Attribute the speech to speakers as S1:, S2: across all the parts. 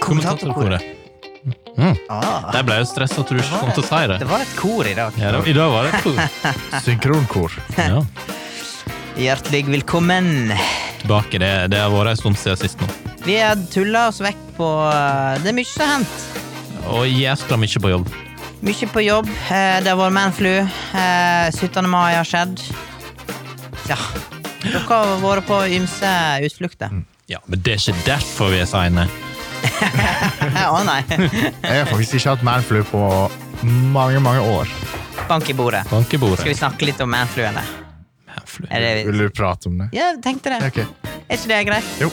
S1: Tatokoret.
S2: Ah,
S1: Jeg Mm. ble jo stressa at du ikke kom til å si det.
S2: det var et kor i dag.
S1: Ja, det- I dag var det cool.
S3: Synkronkor.
S1: Ja,
S2: Hjertelig velkommen.
S1: tilbake. Det, det har vært en stund siden sist nå.
S2: Vi har tulla oss vekk på eh, Det er mye som har hendt.
S1: Og jæskla mye på jobb.
S2: Mye på jobb. eh, Det har vært manflu. eh, 17. mai har skjedd. Ja. Dere har vært på ymse utflukter.
S1: Ja, men det er ikke derfor vi er seine.
S2: Å nei.
S3: Jeg har faktisk ikke hatt manflu på mange, mange år.
S2: Bank i bordet.
S1: Bank i
S2: Skal vi
S1: bordet.
S2: snakke litt om manfluene? Er det
S3: Vil du prate om det?
S2: Ja, jeg tenkte det.
S3: Ok,
S2: Er ikke det greit?
S3: jo.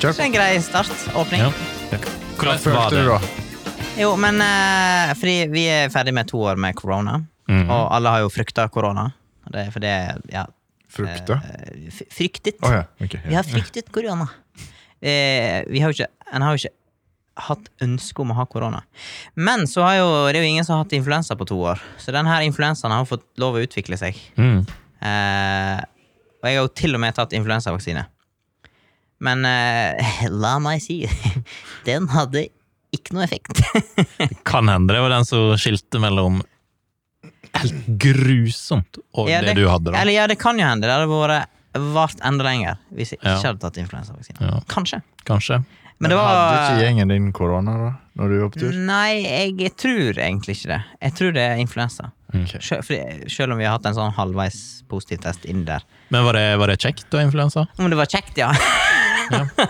S3: Kjør
S2: Ikke
S3: på.
S2: en grei start? Åpning?
S1: Ja.
S3: Hva
S1: Hvordan var
S3: følte
S1: det?
S3: du da?
S2: Jo, men eh, fordi vi er ferdig med to år med korona,
S1: Mhm.
S2: og alle har jo frykta korona. Og Det er fordi ja,
S3: Frukta?
S2: eh, f- fryktet.
S3: Å ja. ok.
S2: Vi har fryktet korona. Eh, vi har jo ikke, en har jo ikke hatt ønske om å ha korona. Men så har jo, det er jo ingen som har hatt influensa på to år, så den her influensaen har jo fått lov å utvikle seg.
S1: Mm.
S2: Eh, og jeg har jo til og med tatt influensavaksine. Men eh, la meg si, den hadde ikke noe effekt.
S1: Kan hende det var den som skilte mellom helt grusomt og
S2: Ja,
S1: det, du hadde. da.
S2: Eller ja, det kan jo hende. Det hadde vært vart enda lenger hvis jeg ikke
S1: Ja.
S2: hadde tatt influensavaksine.
S1: Ja.
S2: Kanskje.
S1: Kanskje.
S2: Men det var Mm.
S3: Hadde ikke gjengen din korona da? Når du var på tur?
S2: Nei, jeg tror egentlig ikke det. Jeg tror det er influensa.
S1: Mm.
S3: Ok.
S2: Sjø- fordi- Selv om vi har hatt en sånn halvveis positiv test inn der.
S1: Men var det, var det kjekt å ha influensa?
S2: Om det var kjekt, ja.
S1: Ja.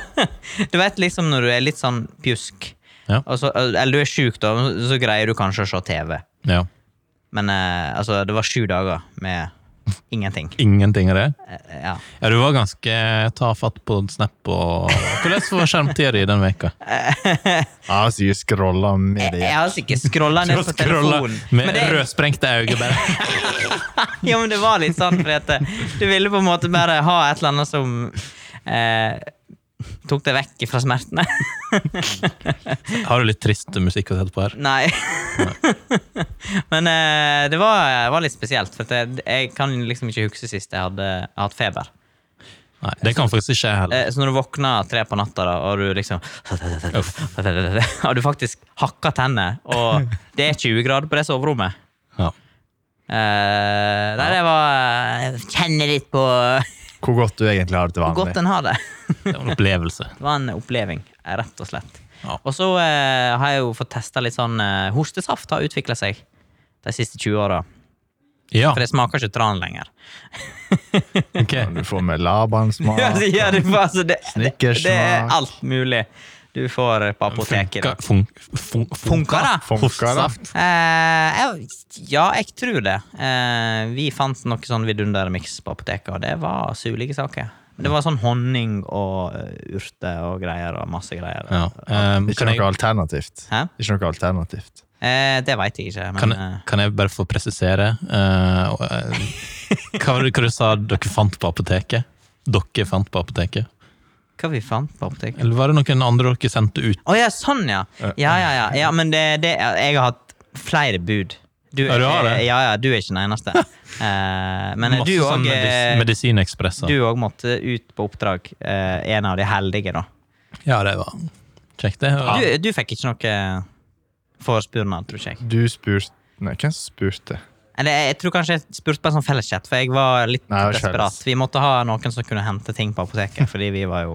S2: Du vet liksom når du er litt sånn pjusk,
S1: Ja.
S2: og så, eller du er sjuk, da, så greier du kanskje å se TV.
S1: ja.
S2: Men eh, altså, det var sju dager med ingenting.
S1: Ingenting av det?
S2: Eh, ja.
S1: Ja, du var ganske tafatt på Snap og Hvordan var skjermtida di den veka?
S3: Ja, så jeg scrolla med
S2: Jeg,
S3: det.
S2: jeg har altså ikke scrolla ned på telefonen.
S1: med
S2: Men det,
S1: rødsprengte øyne bare.
S2: ja, men det var litt sånn, fordi at eh, du ville på en måte bare ha et eller annet som eh, tok deg vekk fra smertene.
S1: Har du litt trist musikk å sette på her?
S2: Nei. Men eh, det var, var litt spesielt, for at jeg, jeg kan liksom ikke huske sist jeg hadde jeg har hatt feber.
S1: Nei, det kan faktisk ikke jeg heller.
S2: Eh, så når du våkner tre på natta, da, og du liksom Har du faktisk hakka tenner, og det er 20 grader på det soverommet
S1: Ja.
S2: eh, Nei, det var Jeg kjenner litt på hvor
S3: Hvor godt du egentlig har det til
S2: godt
S3: vanlig.
S2: en har det.
S1: Det var en opplevelse.
S2: Det var en oppleving, eh, rett og slett.
S1: Ja.
S2: Og så eh, har jeg jo fått testa litt sånn eh, Hostesaft har utvikla seg de siste 20 åra.
S1: Ja,
S2: For det smaker ikke tran lenger.
S1: ok.
S3: Du får med labansmak.
S2: Ja, det- ja, det, var- altså, det, det,
S3: Snickersmak.
S2: det er alt mulig du får eh, på apoteket.
S1: Funka,
S2: da.
S1: fun, fun,
S2: Funka, da?
S3: Funka, da.
S1: Hoftsaft.
S2: Eh, jeg, ja, jeg tror det. Eh, vi fant noe sånn vidundermiks på apoteket, og det var sulige saker. Men det var sånn honning og eh, urter og greier og masse greier.
S1: Ja. ehm,
S3: Ikke
S1: kan,
S3: noe
S1: jeg,
S3: alternativt.
S2: Hæ?
S3: Ikke noe alternativt.
S2: Eh, det veit jeg ikke, men
S1: kan,
S2: eh,
S1: jeg- kan jeg bare få presisere eh, og, eh, hva, var det- hva du sa dere fant på apoteket? Dere fant på apoteket?
S2: hva vi fant på apoteket?
S1: Eller var det noen andre dere sendte ut?
S2: Å ja, sånn ja. Ja, ja, ja. ja men det, det, jeg har hatt flere bud. Du,
S1: Ja, du har det.
S2: Ja, ja, du er ikke den eneste. Eh, men
S1: Masse
S2: du eh,
S1: sånn
S2: òg
S1: medis- medisinekspresser.
S2: Du òg måtte ut på oppdrag. eh, en av de heldige, da.
S1: Ja, det var kjekt, det.
S2: Du, du fikk ikke noe eh, forespurnad, tror ikke jeg.
S3: Du spurte Nei, hvem spurte?
S2: Eller jeg, jeg tror kanskje jeg spurte på en sånn felleschat, for jeg var litt
S3: Nei, det var
S2: desperat.
S3: felles.
S2: Vi måtte ha noen som kunne hente ting på apoteket, fordi vi var jo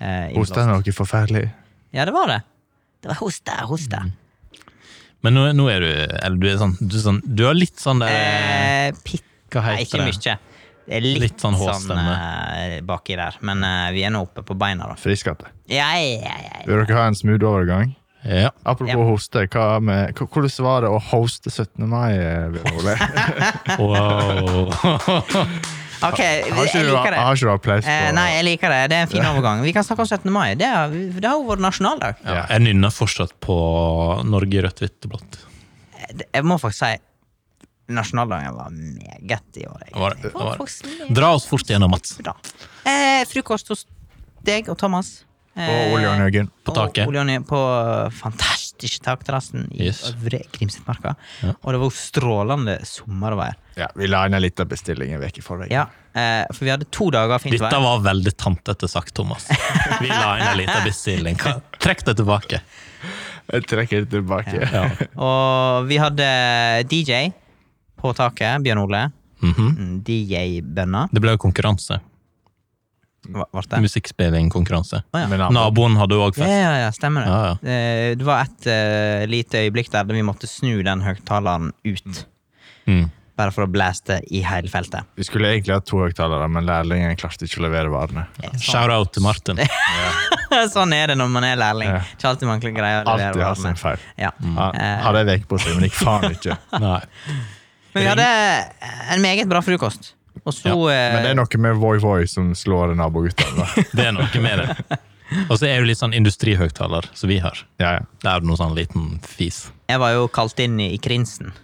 S2: eh,
S3: Hosta
S2: innblåst.
S3: noe forferdelig?
S2: Ja, det var det. Det var hoste, hoste.
S1: Men nå, nå er du Eller du er sånn Du, er sånn, du har litt sånn der
S2: Eh, pitt
S1: Hva
S2: Nei,
S1: heter
S2: ikke
S1: det?
S2: mye. Det er litt,
S1: Litt sånn
S2: sånn,
S1: hårstemme.
S2: eh, baki der. Men eh, vi er nå oppe på beina, da.
S3: Friskatte.
S2: Ja, ja, ja, ja.
S3: Vil dere ha en smooth overgang?
S1: Ja.
S3: Apropos
S2: Ja.
S3: hoste, hva med, hva- hvordan var det å hoste 17. mai? eh, Bjørn Ole?
S1: Wow.
S2: Ok, jeg
S3: Har ikke du,
S2: liker det.
S3: har ikke du applaus
S2: Eh,
S3: på
S2: nei, jeg liker det. Det er en fin overgang. Vi kan snakke om 17. mai. Det, er, det har jo vært nasjonaldag.
S1: ja, jeg nynner fortsatt på Norge i rødt, hvitt og blått.
S2: Det- Jeg må faktisk si nasjonaldagen var meget i år.
S1: Det var det, det
S2: Var
S1: var det.
S2: faktisk meget
S1: Dra oss fort gjennom, Mats.
S2: bra. Eh, frokost hos deg og Thomas. eh,
S3: Og Ole Jørgen Jørgen.
S1: På taket.
S2: Og Ole Jonny på Fantastisk. fantastiske takterrassen i
S1: Yes.
S2: Øvre Grimsetmarka.
S1: Ja.
S2: Og det var jo strålende sommervær.
S3: Ja, vi la inn en liten bestilling en uke i forveien.
S2: Ja, eh, for vi hadde to dager fint
S1: Dette
S2: vær.
S1: var veldig tantete sagt, Thomas. Vi la inn en liten bestilling. Hva- Trekk det tilbake.
S3: Jeg trekker det tilbake.
S1: Ja.
S2: Og vi hadde DJ på taket, Bjørn Ole. Mm,
S1: Mhm.
S2: DJ-bønna,
S1: Det ble jo konkurranse.
S2: ble det.
S1: Musikkspillingkonkurranse.
S2: Å, ja.
S3: Men han-
S1: Naboen hadde jo òg
S2: Ja,
S1: fest.
S2: ja, ja, stemmer det.
S1: Ja, ja.
S2: Eh, Det var et eh, lite øyeblikk der vi måtte snu den høyttaleren ut.
S1: Mm.
S2: Bare for å blæste i hele feltet.
S3: Vi skulle egentlig hatt to høyttalere, men lærlingen klarte ikke å levere varene.
S1: Shout-out til Martin.
S2: sånn er det når man er lærling.
S3: Ja.
S2: Ikke alltid man greier å
S3: Alltid
S1: altså.
S2: levere
S3: har
S2: varene.
S3: sin feil.
S2: Ja.
S1: Mm.
S3: Han
S2: Eh,
S3: hadde en uke på seg, men gikk faen ikke.
S1: Nei.
S2: Men vi hadde eh, en meget bra frokost. Og så eh,
S3: Men det er noe med Voi Voi som slår naboguttene. da.
S1: Det er noe med det. Og så er det jo litt sånn industrihøgtaler som vi har.
S3: Ja, ja.
S1: Det er jo noe sånn liten fis.
S2: Jeg var jo kalt inn i Krinsen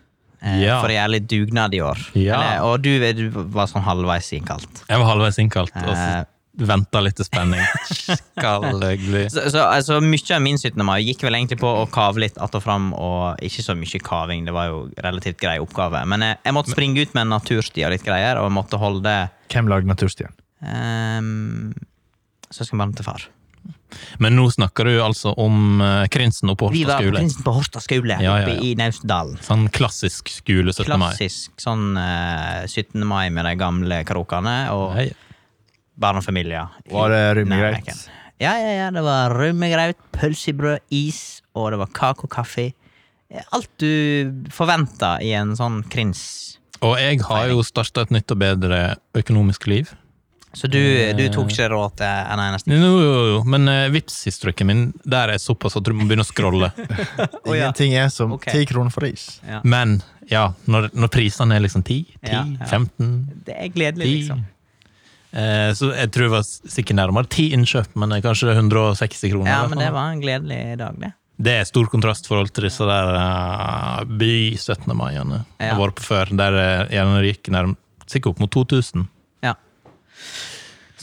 S2: eh,
S1: Ja.
S2: for å gjøre litt dugnad i år.
S1: Ja.
S2: Eller, og du, du var sånn halvveis innkalt.
S1: Jeg var halvveis innkalt og
S2: Eh.
S1: så venta litt i spenning. Skal jeg bli
S2: Så, så altså, mye av min 17. mai gikk vel egentlig på å kave litt att og fram, og ikke så mye kaving, det var jo relativt grei oppgave. Men jeg, jeg måtte springe ut med en natursti og litt greier, og jeg måtte holde
S3: Hvem lagde naturstien?
S2: um, søskenbarnet til far.
S1: Men nå snakker du altså om eh, Krinsen og på
S2: Vi
S1: Horta
S2: var på
S1: skole.
S2: Prinsen på Horta skole
S1: Ja, ja, ja.
S2: oppe i Naustdalen.
S1: Sånn klassisk skole 17. mai.
S2: Klassisk sånn eh, 17. mai med de gamle krokene og
S1: Nei.
S2: barn og familier. i
S3: Var det rymmegreit?
S2: nærheten. Ja, ja, ja. Det var rømmegraut, pølsebrød, is, og det var kake og kaffe. Eh, Alt du forventer i en sånn krins.
S1: Og jeg har jo starta et nytt og bedre økonomisk liv.
S2: Så du,
S1: Eh.
S2: du tok ikke råd til en eneste
S1: Jo, jo, jo. Men uh, Vipps-historikken min der er såpass at du må begynne å scrolle.
S2: Å, ja.
S3: Ingenting er som
S2: Ok.
S3: ti kroner for is.
S2: Ja.
S1: Men ja, når, når prisene er liksom 10, 10,
S2: Ja, ja.
S1: 15,
S2: Det er gledelig,
S1: 10
S2: liksom.
S1: eh, Så jeg tror jeg var s- sikkert nærmere 10 innkjøp, men eh, kanskje 160 kroner.
S2: Ja,
S1: i hvert
S2: men
S1: fall.
S2: det var en gledelig dag, det.
S1: Det er stor kontrast forhold til disse der eh, by 17. mai-ene jeg
S2: Ja.
S1: har vært på før, der eh, gjerne det gikk nærm- sikkert opp mot 2000.
S2: Ja.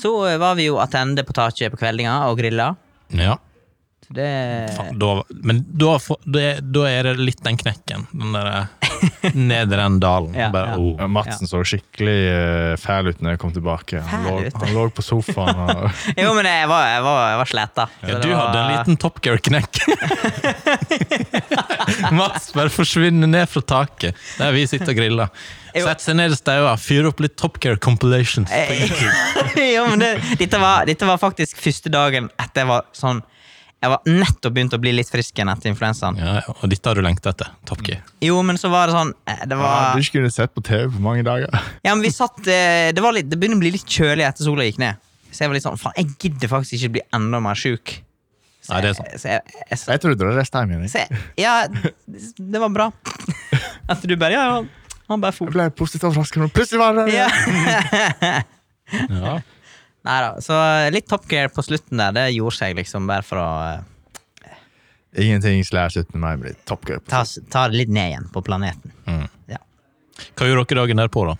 S2: Så eh, var vi jo attende på taket på kveldinga og grilla.
S1: Ja.
S2: Så Det
S1: Faen, da, men da, får- det- da er det litt den knekken. Den der eh, ned i den dalen.
S2: Ja,
S1: bare,
S2: ja.
S1: Oh.
S3: Ja, Madsen så skikkelig eh, fæl ut når jeg kom tilbake. Han,
S2: Fæl
S3: lå,
S2: ut?
S3: han lå på sofaen og
S2: Jo, men jeg var, jeg var, jeg var sleta. Så
S1: Ja,
S2: det
S1: du
S2: var-
S1: hadde en liten Top Gear-knekk. Mats bare forsvinner ned fra taket der vi sitter og griller.
S2: Jo.
S1: Sett seg ned i staua, fyr opp litt Top Gear compilations. på
S2: Eh,
S1: YouTube.
S2: jo, men det, dette, var, dette var faktisk første dagen etter jeg var sånn Jeg var nettopp begynt å bli litt frisk igjen etter influensaen.
S1: Ja, ja, og dette har du lengta etter. Top Gear.
S2: Jo, men så var det sånn eh, Det
S3: Du
S2: var
S3: ikke kunne sett på TV på mange dager.
S2: Ja, men vi satt eh, Det, var litt, det begynner å bli litt kjølig etter sola gikk ned. Så jeg var litt sånn Faen, jeg gidder faktisk ikke bli enda mer sjuk. Så
S1: Nei, det er
S2: jeg-
S1: sant.
S2: Så jeg, jeg, så,
S3: Jeg tror du drar resten hjem igjen. jeg.
S2: jeg, ja, det var bra. At du bare Ja, ja. Han bare for.
S3: Jeg ble positivt overrasket når plutselig var det
S2: Ja.
S1: Ja.
S2: Nei da. Så eh, litt Top Gear på slutten der, det gjorde seg liksom bare for å eh,
S3: Ingenting slår 17. mai med litt Top Gear.
S2: ta, s- ta det litt ned igjen på planeten.
S1: Mm.
S2: Ja.
S1: Hva gjorde dere dagen derpå, da?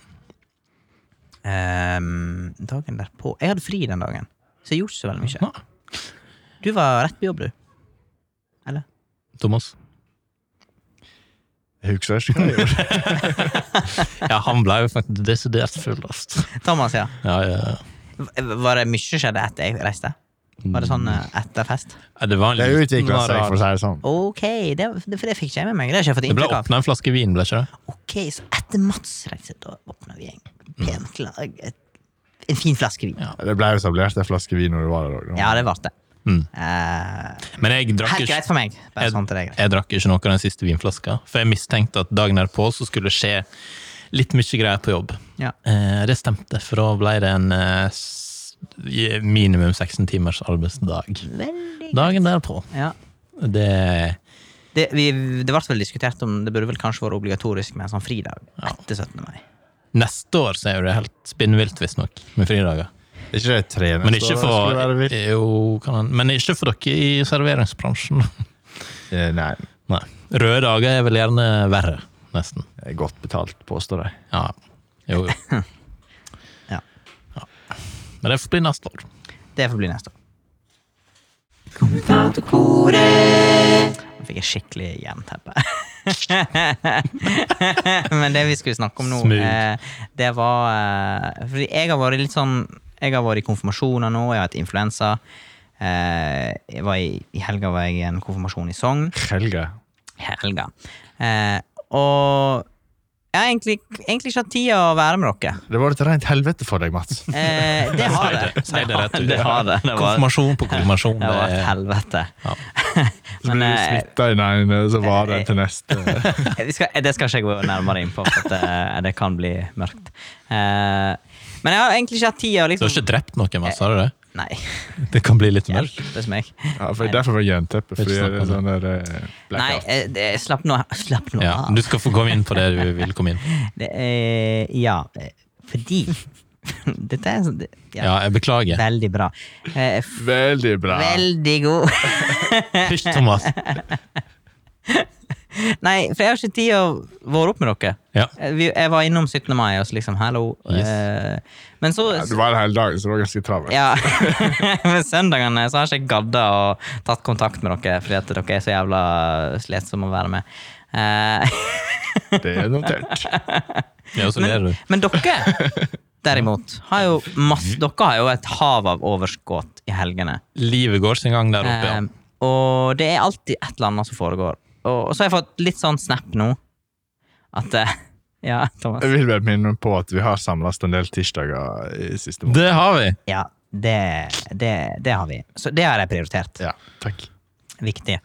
S2: Ehm, dagen derpå Jeg hadde fri den dagen, så jeg gjorde ikke så veldig mye.
S1: Nei.
S2: Du var rett på jobb, du. Eller?
S1: Thomas?
S3: Jeg husker ikke hva jeg gjorde.
S1: Ja, han ble jo faktisk desidert fullest.
S2: Thomas, ja.
S1: Ja, ja, ja.
S2: V- Var det mye som skjedde etter jeg reiste? Var det sånn eh, etter fest?
S1: Ja, Det var en
S3: Det
S1: liten
S3: utvikla seg, for
S1: rar
S3: å si det sånn.
S2: Ok, det, det, for det fikk ikke jeg med meg. Det har jeg ikke fått
S1: Det ble
S2: inntrykk av.
S1: åpna en flaske vin, ble ikke det?
S2: Ok, Så etter Mats reiste, da åpna vi en
S1: Mm.
S2: pent lag et- En fin flaske vin.
S1: Ja.
S3: Det ble jo etablert en flaske vin når du var der òg.
S2: Ja, det ble det.
S1: Mm.
S2: Eh,
S1: Men jeg drakk
S2: helt
S1: ikke
S2: greit for meg. Bare
S1: Jeg-
S2: sånn til deg.
S1: Jeg drakk ikke noe av den siste vinflaska, for jeg mistenkte at dagen derpå så skulle det skje litt mye greier på jobb.
S2: Ja.
S1: Eh, det stemte, for da ble det en eh, s- i- minimum 16 timers arbeidsdag.
S2: Veldig greit.
S1: Dagen derpå.
S2: Ja.
S1: Det
S2: Det, vi, det ble vel diskutert om det burde vel kanskje være obligatorisk med en sånn fridag etter 17. mai.
S1: Neste år så er jo det helt spinnvilt, visstnok, med fridager.
S3: Ikke det tre
S1: Men ikke
S3: år, det skulle være
S1: for
S3: vilt.
S1: jo, kan han, Men ikke for dere i serveringsbransjen.
S3: Eh, Nei,
S1: Nei. Røde dager er vel gjerne verre, nesten.
S3: det er godt betalt, påstår de.
S1: Ja. Jo, jo.
S2: Ja.
S1: Ja. Men det får bli neste år.
S2: Det får bli neste år. Nå fikk jeg skikkelig jernteppe. Men det vi skulle snakke om nå,
S1: Smooth.
S2: eh, det var eh, Fordi jeg har vært litt sånn Jeg har vært i konfirmasjoner nå, jeg har hatt influensa. Eh, jeg var i, I helga var jeg i en konfirmasjon i Sogn.
S3: Helge.
S2: Helga. Eh, og jeg har egentlig, egentlig ikke hatt tid å være med dere.
S3: Det var et rent helvete for deg, Mats.
S2: Eh, det har
S1: Si
S2: det.
S1: det- si det rett ut.
S2: Det har det. Det var,
S1: Konfirmasjon på konfirmasjon.
S2: det var
S1: det
S2: et
S1: er-
S2: helvete.
S1: Ja.
S3: Så
S2: Men
S3: blir du
S2: eh,
S3: smitta i den ene, så var den til neste.
S2: vi skal, eh, det skal ikke jeg gå nærmere inn på, for at eh, det kan bli mørkt. Eh, men jeg har egentlig ikke hatt tid å
S1: Du har
S2: liksom
S1: ikke drept noen, Mats? Har du det?
S2: Nei,
S1: Det kan bli litt mørkt.
S2: hjelpes meg.
S3: Ja, for derfor var jernteppet. Fordi
S1: Ikke snakk
S3: det er sånn der eh,
S2: Nei,
S3: blackout.
S2: eh, det, slapp nå slapp nå
S1: Ja,
S2: av.
S1: du skal få komme inn på det du vil komme inn på.
S2: Det, er- ja, eh, fordi Dette er sånn det- ja,
S1: Ja, jeg beklager.
S2: Veldig bra. Eh, f-
S3: Veldig bra.
S2: veldig god.
S1: Hysj, Thomas.
S2: Nei, for jeg har ikke tid å være opp med dere.
S1: Ja.
S2: Eh, vi- Jeg var innom 17. mai, og så liksom hallo.
S1: Yes.
S2: eh, Men så
S3: Ja, det var en hel dag, så det var ganske travelt.
S2: Ja. Men søndagene så har jeg ikke gadda og tatt kontakt med dere, fordi at dere er så jævla slitsomme å være med. Eh,
S3: Det er notert.
S1: Ja, og så ler
S2: men,
S1: du.
S2: men dere, derimot, har jo
S1: Mm.
S2: masse Dere har jo et hav av overskudd i helgene.
S1: Livet går sin gang der oppe, ja.
S2: Eh, og det er alltid et eller annet som foregår. Og, og så har jeg fått litt sånn snap nå at eh, Ja, Thomas.
S3: Jeg vil bare minne på at vi har samles en del tirsdager i siste måned.
S1: Det har vi!
S2: Ja, det, det, det har vi. Så det har jeg prioritert.
S3: Ja, takk.
S2: Viktig.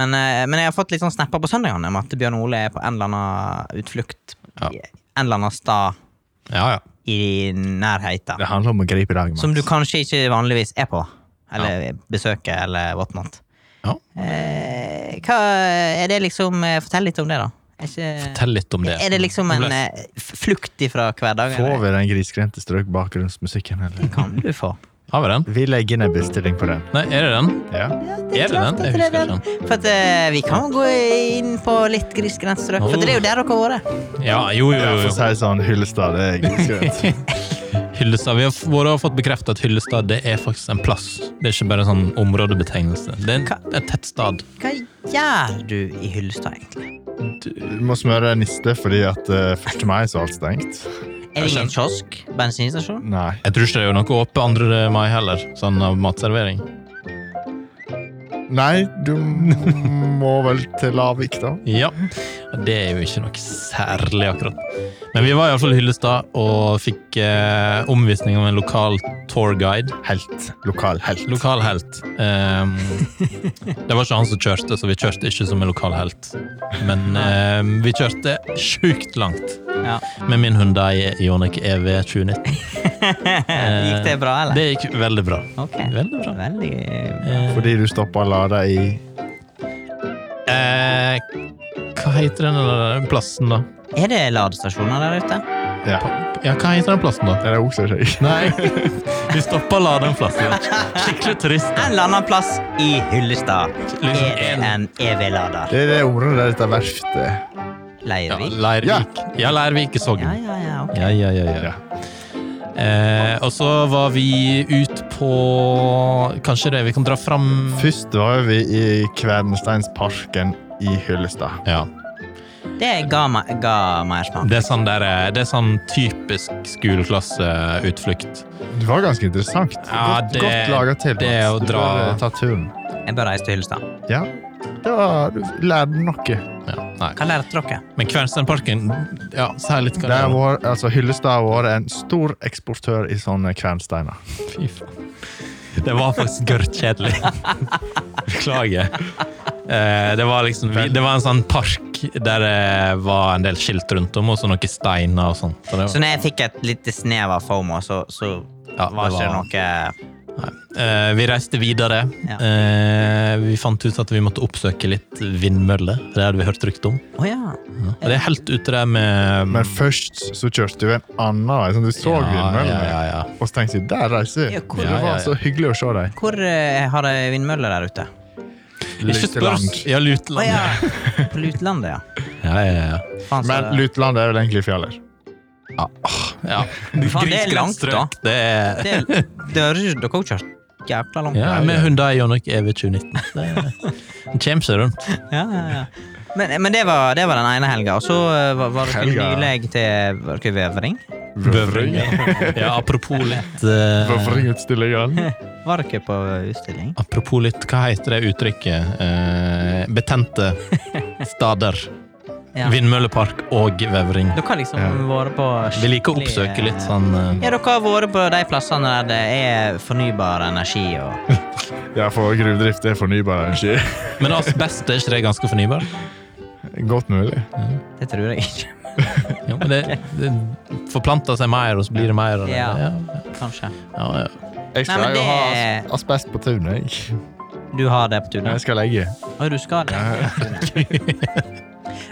S2: Men, eh, men jeg har fått litt sånn snapper på søndagene om at Bjørn Ole er på en eller annen utflukt.
S1: Ja.
S2: i En eller annen stad
S1: Ja, ja.
S2: i nærheten.
S3: Det handler om å gripe i dag, Mats.
S2: Som du kanskje ikke vanligvis er på. Eller besøker, eller whatnot.
S1: ja.
S2: Eh, hva er det liksom eh, Fortell litt om det, da. Er, ikke,
S1: Fortell litt om det.
S2: er det liksom en
S1: Hvordan-
S2: eh, f- flukt ifra hverdagen?
S3: Får
S2: eller?
S3: vi den grisgrendte strøk bakgrunnsmusikken, eller?
S2: Kan du få?
S1: Har vi den?
S3: Vi legger ned bestilling på den.
S1: Nei, er det den?
S3: Ja.
S1: Er det den? Jeg husker ikke den.
S2: For at, eh, vi kan gå inn på litt grisgrendt strøk, for det er jo der dere har vært.
S1: Ja, jo, jo,
S3: Jeg
S1: jo.
S3: får
S1: jo.
S3: si sånn Hyllestad, det er grisgrendt.
S1: Hyllestad. Vi har f- våre har fått bekreftet at Hyllestad det er faktisk en plass. Det er ikke bare en sånn områdebetegnelse. Det er en, et tett stad.
S2: Hva gjør du i Hyllestad, egentlig?
S3: Du må smøre en niste fordi at eh, 1. mai så er alt stengt.
S2: Er det ingen kiosk? Bensinstasjon?
S3: Nei.
S1: Jeg tror ikke det er noe åpent 2. mai heller, sånn av matservering.
S3: Nei, du må vel til Lavik, da.
S1: Ja, det er jo ikke noe særlig akkurat. Men vi var iallfall i Hyllestad og fikk eh, omvisning av en lokal tourguide.
S3: Helt. Lokal helt.
S1: Lokal helt. Ehm, det var ikke han som kjørte, så vi kjørte ikke som en lokal helt. Men ehm, vi kjørte sjukt langt
S2: Ja.
S1: med min Hyundai Ioniq E EV 2019.
S2: Gikk det bra, eller?
S1: Eh, Det gikk veldig bra.
S2: Ok.
S1: Veldig bra.
S2: Veldig
S1: Eh,
S3: Fordi du stoppa lada i
S1: eh, hva heter den der plassen, da?
S2: Er det ladestasjoner der ute?
S3: Ja.
S1: Ja, hva heter den plassen, da?
S3: Det er også seg.
S1: Nei, vi stoppa ladeplassen. Skikkelig turist.
S2: En eller annen plass i Hyllestad
S1: Liksom
S2: er det
S1: en-
S2: en E EV-lader.
S3: Det er det området der dette er verftet.
S1: Ja,
S2: Leirvik?
S1: Leirvik. Ja, Leirvik i Sogn.
S2: Ja, ja, ja. ok.
S1: Ja, ja, ja, ja.
S3: Ja.
S1: Eh, og så var vi ut på Kanskje det, vi kan dra fram
S3: Først var vi i Kvernsteinsparken i Hyllestad.
S1: Ja.
S2: Det ga, meg- ga mersmak.
S1: Det er sånn, der, eh, det er sånn typisk skoleklasseutflukt.
S3: Det var ganske interessant.
S1: Ja,
S3: godt
S1: det-
S3: godt laga til.
S1: det
S3: Mats.
S1: er å
S3: Du
S1: dra-
S3: bør, eh, Ta turen.
S2: Jeg bør reise til Hyllestad.
S3: Ja. Da du lærte noe.
S1: Ja, nei.
S2: Hva lærte dere?
S1: Men Kvernsteinparken Ja, si litt hva
S3: Det har
S1: det var.
S3: vært- altså, Hyllestad har vært en stor eksportør i sånne kvernsteiner.
S1: Fy faen. Det var faktisk gørrkjedelig. Beklager. Eh, det, var liksom, vi- det var en sånn park der det var en del skilt rundt om, og så noen steiner og sånt. Så det var-
S2: Så når jeg fikk et lite snev av FOMO, så, så
S1: Ja,
S2: var
S1: det
S2: ikke det
S1: var-
S2: noe
S1: Eh, vi reiste videre.
S2: Ja.
S1: Eh, vi fant ut at vi måtte oppsøke litt vindmøller. Det hadde vi hørt rykte om.
S2: Å ja.
S1: Og det er helt ute der med
S3: Men først så kjørte du en annen vei, sånn du så
S1: Mm. Ja,
S3: vindmøllene.
S1: Ja, ja,
S3: Og så tenkte jeg der reiser vi.
S2: Ja, hvor-
S3: det
S1: Ja,
S3: var
S1: ja, ja.
S3: så hyggelig å se deg.
S2: Hvor eh, har de vindmøller der ute?
S1: ja. Ikke spørs.
S3: Luteland.
S1: Ja,
S2: Å
S1: Luteland.
S2: ja!
S1: Ja.
S2: På Lutlandet, ja.
S1: Ja, ja, ja.
S2: Faen, så-
S3: Men Luteland er vel egentlig fjaller.
S1: ja.
S2: Faen, det er langt,
S1: Grisgrendstrøk, Det er
S2: det, det, har ikke- dere har jo kjørt jævla langt.
S1: ja,
S3: Ja,
S1: med E
S3: ja.
S1: Hyundai og nok EV 2019. Det er- Den kommer seg rundt.
S2: Ja, ja, ja. Men, men det, var, det var den ene helga. Og så eh, var, var dere
S3: Helga.
S2: nylig til var dere i Vevring.
S1: Bøvring. Ja, apropos litt eh,
S3: Bøvringutstillingen.
S2: Var dere på utstilling?
S1: Apropos litt, hva heter det uttrykket? Eh, betente stader.
S2: Ja.
S1: Vindmøllepark og vevring.
S2: Dere har liksom
S3: Ja.
S2: vært på
S1: Vi liker å
S2: skikkelig,
S1: oppsøke litt
S2: eh,
S1: sånn eh,
S2: Ja, dere har vært på de plassene der det er fornybar energi og
S3: Ja, for gruvedrift er fornybar energi.
S1: Men asbest, er ikke det ganske fornybar?
S3: Godt mulig.
S2: Det tror jeg ikke,
S1: Jo, men det, det forplanter seg mer, og så blir det mer. Og det,
S2: Ja.
S1: ja,
S2: kanskje.
S1: ja, ja.
S3: Jeg skal
S2: Nei, men
S3: jo ha
S2: det-
S3: as- asbest på tunet. jeg.
S2: Du har det på tunet?
S3: Jeg skal legge.
S2: Å, du skal det?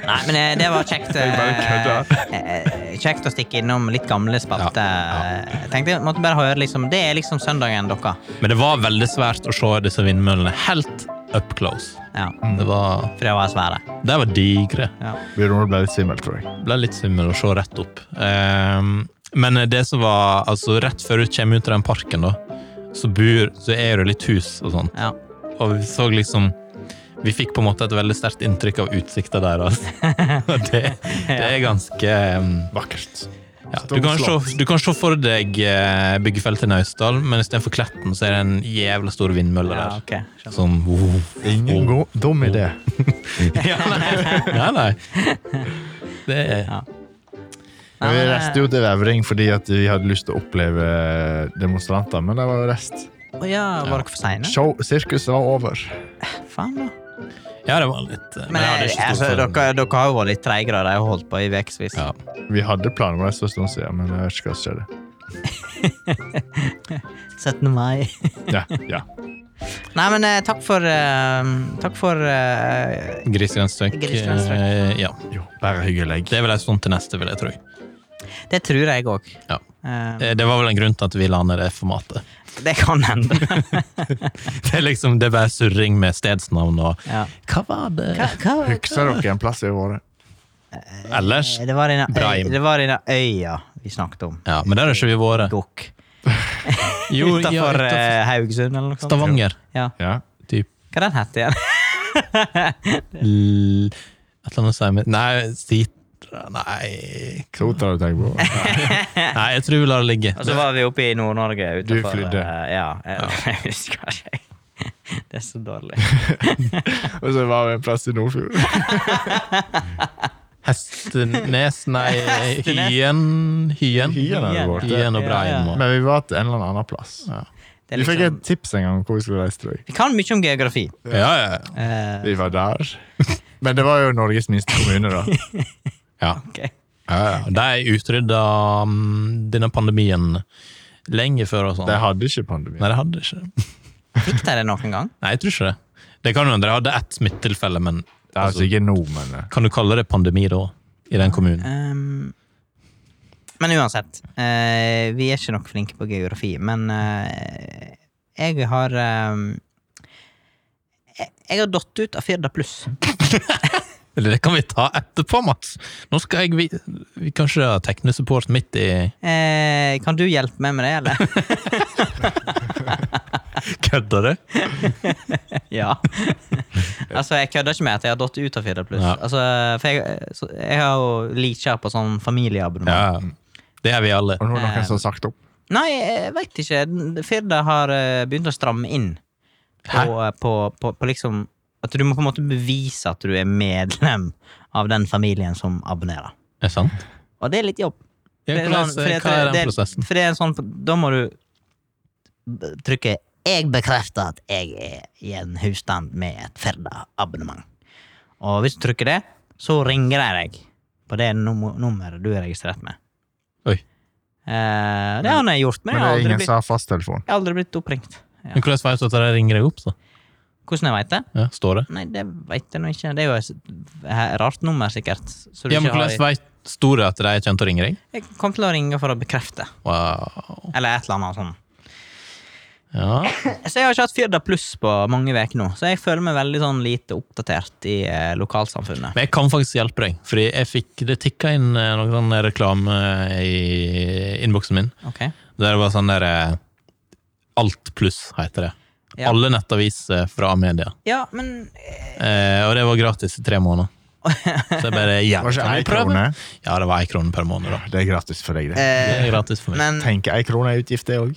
S2: Nei, men eh, det var kjekt.
S3: bare
S2: eh, eh, Kjekt å stikke innom litt gamle spalter. Jeg Tenkte jeg måtte bare høre liksom, Det er liksom søndagen dere.
S1: Men det var veldig svært å se disse vindmøllene helt up close.
S2: Ja,
S1: Det var,
S2: for det var svære.
S1: det var digre.
S3: Vi må bli litt svimmel, tror jeg.
S1: ble litt svimmel å se rett opp. Ehm, men det som var altså Rett før du kommer ut av den parken, da, så, bor, så er det litt hus og sånn.
S2: Ja.
S1: Og vi så liksom Vi fikk på en måte et veldig sterkt inntrykk av utsikta deres. Og det, det er ganske ehm,
S3: Vakkert.
S1: ja. du, kan se, du kan se for deg eh, byggefeltet i Naustdal, men istedenfor Kletten så er det en jævla stor vindmølle
S2: Ja,
S1: der. Sånn.
S2: ok, skjønner.
S1: Som
S3: Ingen god, dum idé.
S1: ja, nei. ja, nei. Det er
S2: Ja.
S3: Men vi
S2: Nei, men,
S3: reiste jo til Vevring fordi at vi hadde lyst til å oppleve eh, demonstranter, men det var jo rest.
S2: Å ja, var dere for seine?
S3: Show, sirkuset var over.
S2: Faen, da.
S1: Ja, det var litt eh,
S2: Men
S1: jeg hadde
S2: eh,
S1: ikke stått
S2: altså,
S1: for den.
S2: dere, dere har jo vært litt treigere, de har holdt på i ukevis.
S1: Ja.
S3: Vi hadde planer om det for en stund siden, men jeg vet ikke hva som skjedde.
S2: 17. mai.
S3: Ja, ja.
S2: Nei, men eh, takk for eh, Takk for eh,
S1: Grisgrendstøkk.
S2: Grisgrendstøkk.
S1: eh, Ja.
S3: Jo, bare hyggelig.
S1: Det er vel en stund til neste, vil jeg tro.
S2: Det tror jeg òg.
S1: Ja. Eh, Det var vel en grunn til at vi la ned det formatet.
S2: det kan hende.
S1: Det er liksom, det er bare surring med stedsnavn og
S2: ja.
S1: Hva var det?
S2: Hva, hva,
S3: Husker dere en plass vi har vært?
S1: Ellers?
S2: Eh, Det var denne, øy,
S1: Breim.
S2: det var denne øya vi snakket om.
S1: Ja, men der har ikke vi vært.
S2: Gokk.
S1: Jo, ja,
S2: Utenfor
S1: utenfor
S2: eh, Haugesund eller noe sånt.
S1: Stavanger.
S2: Ja.
S3: Ja.
S1: Typ.
S2: Hva den het igjen?
S1: L- Et eller annet sier meg Nei, Sitra Nei
S3: Sotra du tenker på?
S2: Eh.
S1: Nei, jeg tror vi lar det ligge.
S2: Og så var vi oppe i Nord-Norge utenfor
S3: Du flydde.
S2: eh, Ja. Jeg, jeg husker ikke. Det er så dårlig.
S3: Og så var vi en plass i Nordfjord.
S1: Hestenes Nei,
S2: Hestenes.
S1: Hyen. Hyen.
S3: Hyen hadde vi vært.
S1: Hyen og Breim. og-
S3: Men vi var til en eller annen plass.
S2: Det er
S3: Vi fikk
S2: liksom,
S3: et tips en gang om hvor vi skulle reise, tror jeg.
S2: vi kan mye om geografi.
S1: Ja, ja, ja.
S2: Eh,
S3: Vi var der. Men det var jo Norges minste kommune, da.
S1: ja.
S2: ok.
S1: Ja, ja. De utrydda mm, denne pandemien lenge før og sånn.
S3: De hadde ikke pandemi.
S1: Nei, de hadde ikke det.
S2: Fikk dere det noen gang?
S1: Nei, jeg tror ikke det. Det kan jo hende de hadde ett smittetilfelle, men
S3: Det er altså ikke nå, men eh,
S1: kan du kalle det pandemi da? I den kommunen?
S2: Ehm, men uansett, eh, vi er ikke nok flinke på geografi, men eh, jeg har ehm, jeg, jeg har datt ut av Firda pluss.
S1: Eller det kan vi ta etterpå, Mats! Nå skal jeg vi, vi Kanskje ha teknesupport midt i
S2: Eh, kan du hjelpe meg med det, eller?
S1: Kødder du?
S2: ja. altså, jeg kødder ikke med at jeg har datt ut av Firda pluss.
S1: Ja.
S2: Altså, for jeg, så, jeg har jo likkjær på sånn familieabonnement.
S1: Ja. Det er vi alle.
S3: Og nå er det noen som har sagt opp.
S2: Nei, jeg veit ikke. Firda har eh, begynt å stramme inn på, på, på, på liksom At du må på en måte bevise at du er medlem av den familien som abonnerer.
S1: Er det sant?
S2: Og det er litt jobb.
S1: Ja,
S2: Det er
S1: hvordan-
S2: sånn- fordi at
S1: hva er
S2: det-
S1: den prosessen?
S2: For det er en sånn Da må du b- trykke 'Jeg bekrefter at jeg er i en husstand med et Firda-abonnement'. Og hvis du trykker det, så ringer de deg på det num nummeret du er registrert med.
S1: Oi.
S2: Eh, det har han gjort, men,
S3: Men det
S2: jeg har
S3: er
S2: aldri
S3: ingen
S2: blitt
S3: som har fasttelefon.
S2: jeg har aldri blitt oppringt. Ja.
S1: Men hvordan vet du at de ringer deg opp, så?
S2: Hvordan jeg veit det?
S1: Ja, står det?
S2: Nei, det veit jeg nå ikke. Det er jo et rart nummer, sikkert. Så du
S1: Ja, men
S2: ikke har
S1: hvordan vet Står det at de kommer til å ringe deg?
S2: Jeg kom til å ringe for å bekrefte,
S1: Wow.
S2: eller et eller annet sånn.
S1: Ja.
S2: Så jeg har ikke hatt Firda pluss på mange uker nå, så jeg føler meg veldig sånn lite oppdatert i eh, lokalsamfunnet.
S1: Men jeg kan faktisk hjelpe deg, fordi jeg fikk det tikka inn eh, noen sånn reklame eh, i innboksen min.
S2: Ok?
S1: Der det var sånn der eh, Alt pluss, heter det.
S2: Ja.
S1: Alle nettaviser fra media.
S2: Ja, men eh,
S1: Eh, og det var gratis i tre måneder. Så jeg bare ja,
S3: Var ikke
S1: kan vi
S3: ei
S1: prøve?
S3: krone?
S1: Ja, det var ei krone per måned, da.
S3: Ja, Det er gratis for deg, det.
S1: Det er
S2: eh,
S1: gratis for meg.
S2: Men
S3: Tenk, ei krone er utgift, det òg.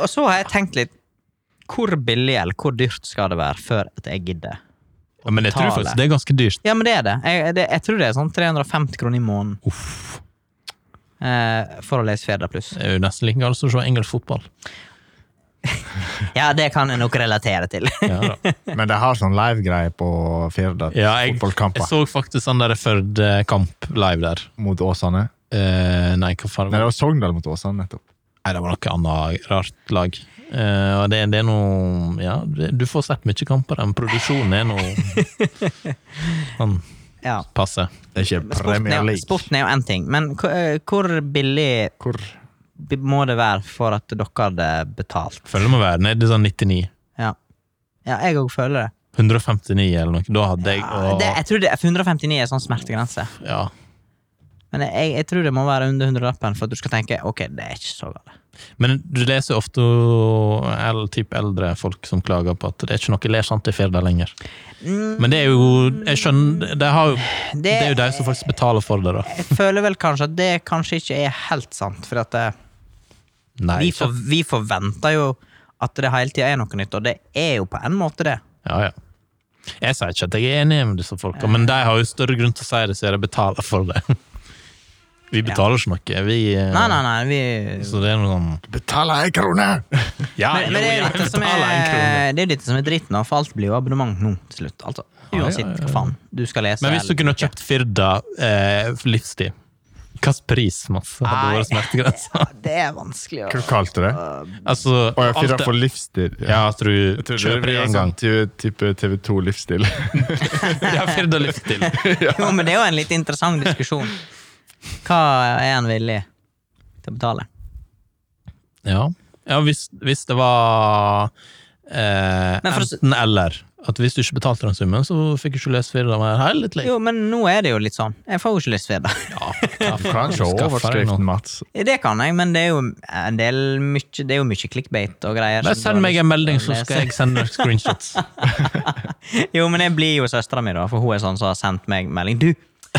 S2: Og så har jeg tenkt litt Hvor billig eller hvor dyrt skal det være før at jeg gidder?
S1: Ja, men jeg tror
S2: betale.
S1: faktisk det er ganske dyrt.
S2: Ja, men det er det. Jeg, det, jeg tror det er sånn 350 kroner i måneden
S1: Uff.
S2: eh, for å lese Firda pluss.
S1: Det er jo nesten like galt som å se engelsk fotball.
S2: Ja, det kan jeg nok relatere til.
S1: Ja, da.
S3: Men de har sånn live-greie på Firda.
S1: Ja, jeg, jeg
S3: fotballkamper
S1: så faktisk han der Førde-kamp live der.
S3: mot Åsane.
S1: Eh, nei, hva faen var
S3: Nei,
S1: det?
S3: det var Sogndal mot Åsane, nettopp.
S1: Nei, det var noe annet rart lag. Eh, og det, det er noe Ja, det, du får sett mye kamper, men produksjonen er noe sånn
S2: Ja.
S1: passe.
S3: Det er ikke
S2: Sporten
S3: Premier
S2: er,
S3: League.
S2: jo- sporten er jo én ting, men hvor, eh, hvor billig
S3: Hvor
S2: b- må det være for at dere hadde betalt?
S1: Føler det må være nede i sånn 99.
S2: Ja, ja jeg òg føler det.
S1: 159 eller noe. Da hadde jeg
S2: Ja, det. Jeg tror det 159 er sånn smertegrense,
S1: ja.
S2: men jeg, jeg tror det må være under 100-lappen for at du skal tenke ok, det er ikke så galt.
S1: Men du leser jo ofte el, typ eldre folk som klager på at det er ikke noe lersant i Firda lenger.
S2: Mm,
S1: Men det er jo jeg skjønner, det, har jo, det er jo de som faktisk betaler for det, da.
S2: jeg føler vel kanskje at det kanskje ikke er helt sant, for at eh,
S1: Nei,
S2: vi,
S1: ikke.
S2: for, vi forventer jo at det hele tida er noe nytt, og det er jo på en måte det.
S1: Ja, ja. Jeg sier ikke at jeg er enig med disse folka, men de har jo større grunn til å si det, siden de betaler for det. Vi betaler ikke noe. Vi, eh,
S2: Nei, nei, nei, vi
S1: Så det er noe sånn
S3: Betaler ei krone!
S1: Ja,
S2: Men, men det er jo
S1: jo,
S2: dette
S1: jeg
S2: som er,
S1: betaler en krone.
S2: det er jo dette som er dritten, da, for alt blir jo abonnement nå til slutt. Altså,
S1: ja,
S2: uansett
S1: ja.
S2: hva faen du skal lese.
S1: Men hvis du
S2: eller
S1: kunne
S2: ikke.
S1: kjøpt Firda eh, for livstid, hvilken pris masse hadde vært smertegrensa?
S2: Ja, Det er vanskelig å
S3: Hva kalte du det?
S1: Altså,
S3: Å, jeg
S1: alt
S3: fyrer
S1: det-
S3: for livsstil.
S1: Ja, at du
S3: Jeg tror det
S1: kjøper
S3: blir
S1: én gang.
S3: sånn ty- type TV2 livsstil.
S1: Ja, Firda livsstil.
S2: Jo, men det er jo en litt interessant diskusjon. Hva er en villig til å betale?
S1: Ja, ja hvis, hvis det var eh,
S2: Men for å s-
S1: enten eller. At hvis du ikke betalte den summen, så fikk du ikke lese Firda mer. Hei, litt lenge.
S2: Jo, men nå er det jo litt sånn. Jeg får jo ikke lyst til det.
S1: Ja, hva
S3: Du kan
S1: faen,
S3: se
S1: skaffer deg noe.
S3: overskriften, Mats.
S2: Det kan jeg, men det er jo en del mykje- Det er jo mye clickbait og greier.
S1: Bare
S2: som
S1: send
S2: du har
S1: meg
S2: lyst
S1: en melding,
S2: til å
S1: så skal
S2: lese.
S1: jeg sende deg screenshots.
S2: Jo, men jeg blir jo søstera mi, da, for hun er sånn som har sendt meg melding. Du,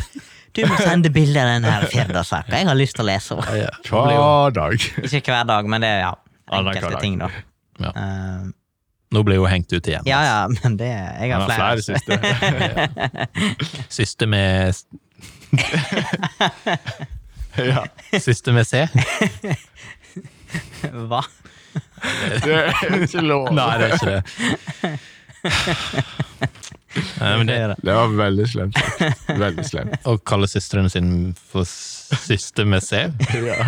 S2: du må sende bilde av den her Firda-saka. Jeg har lyst til å lese den.
S1: Ja,
S3: Hver dag.
S2: Ikke hver dag, men det er ja,
S3: Ja, det er
S2: enkelte
S3: hver dag.
S2: ting, da.
S1: Ja.
S2: Eh,
S1: Nå ble jeg jo hengt ut igjen.
S2: ja, ja, men det Jeg
S3: Han
S2: har
S3: har flere
S2: flere.
S3: siste.
S1: Siste med,
S3: Ja.
S1: siste med C?
S2: Hva?
S3: Det er ikke lov.
S1: Nei, det er ikke det. Nei, men det er det.
S3: Det var veldig slemt. Veldig slemt.
S1: Å kalle søstrene sine for siste med C?
S3: Ja.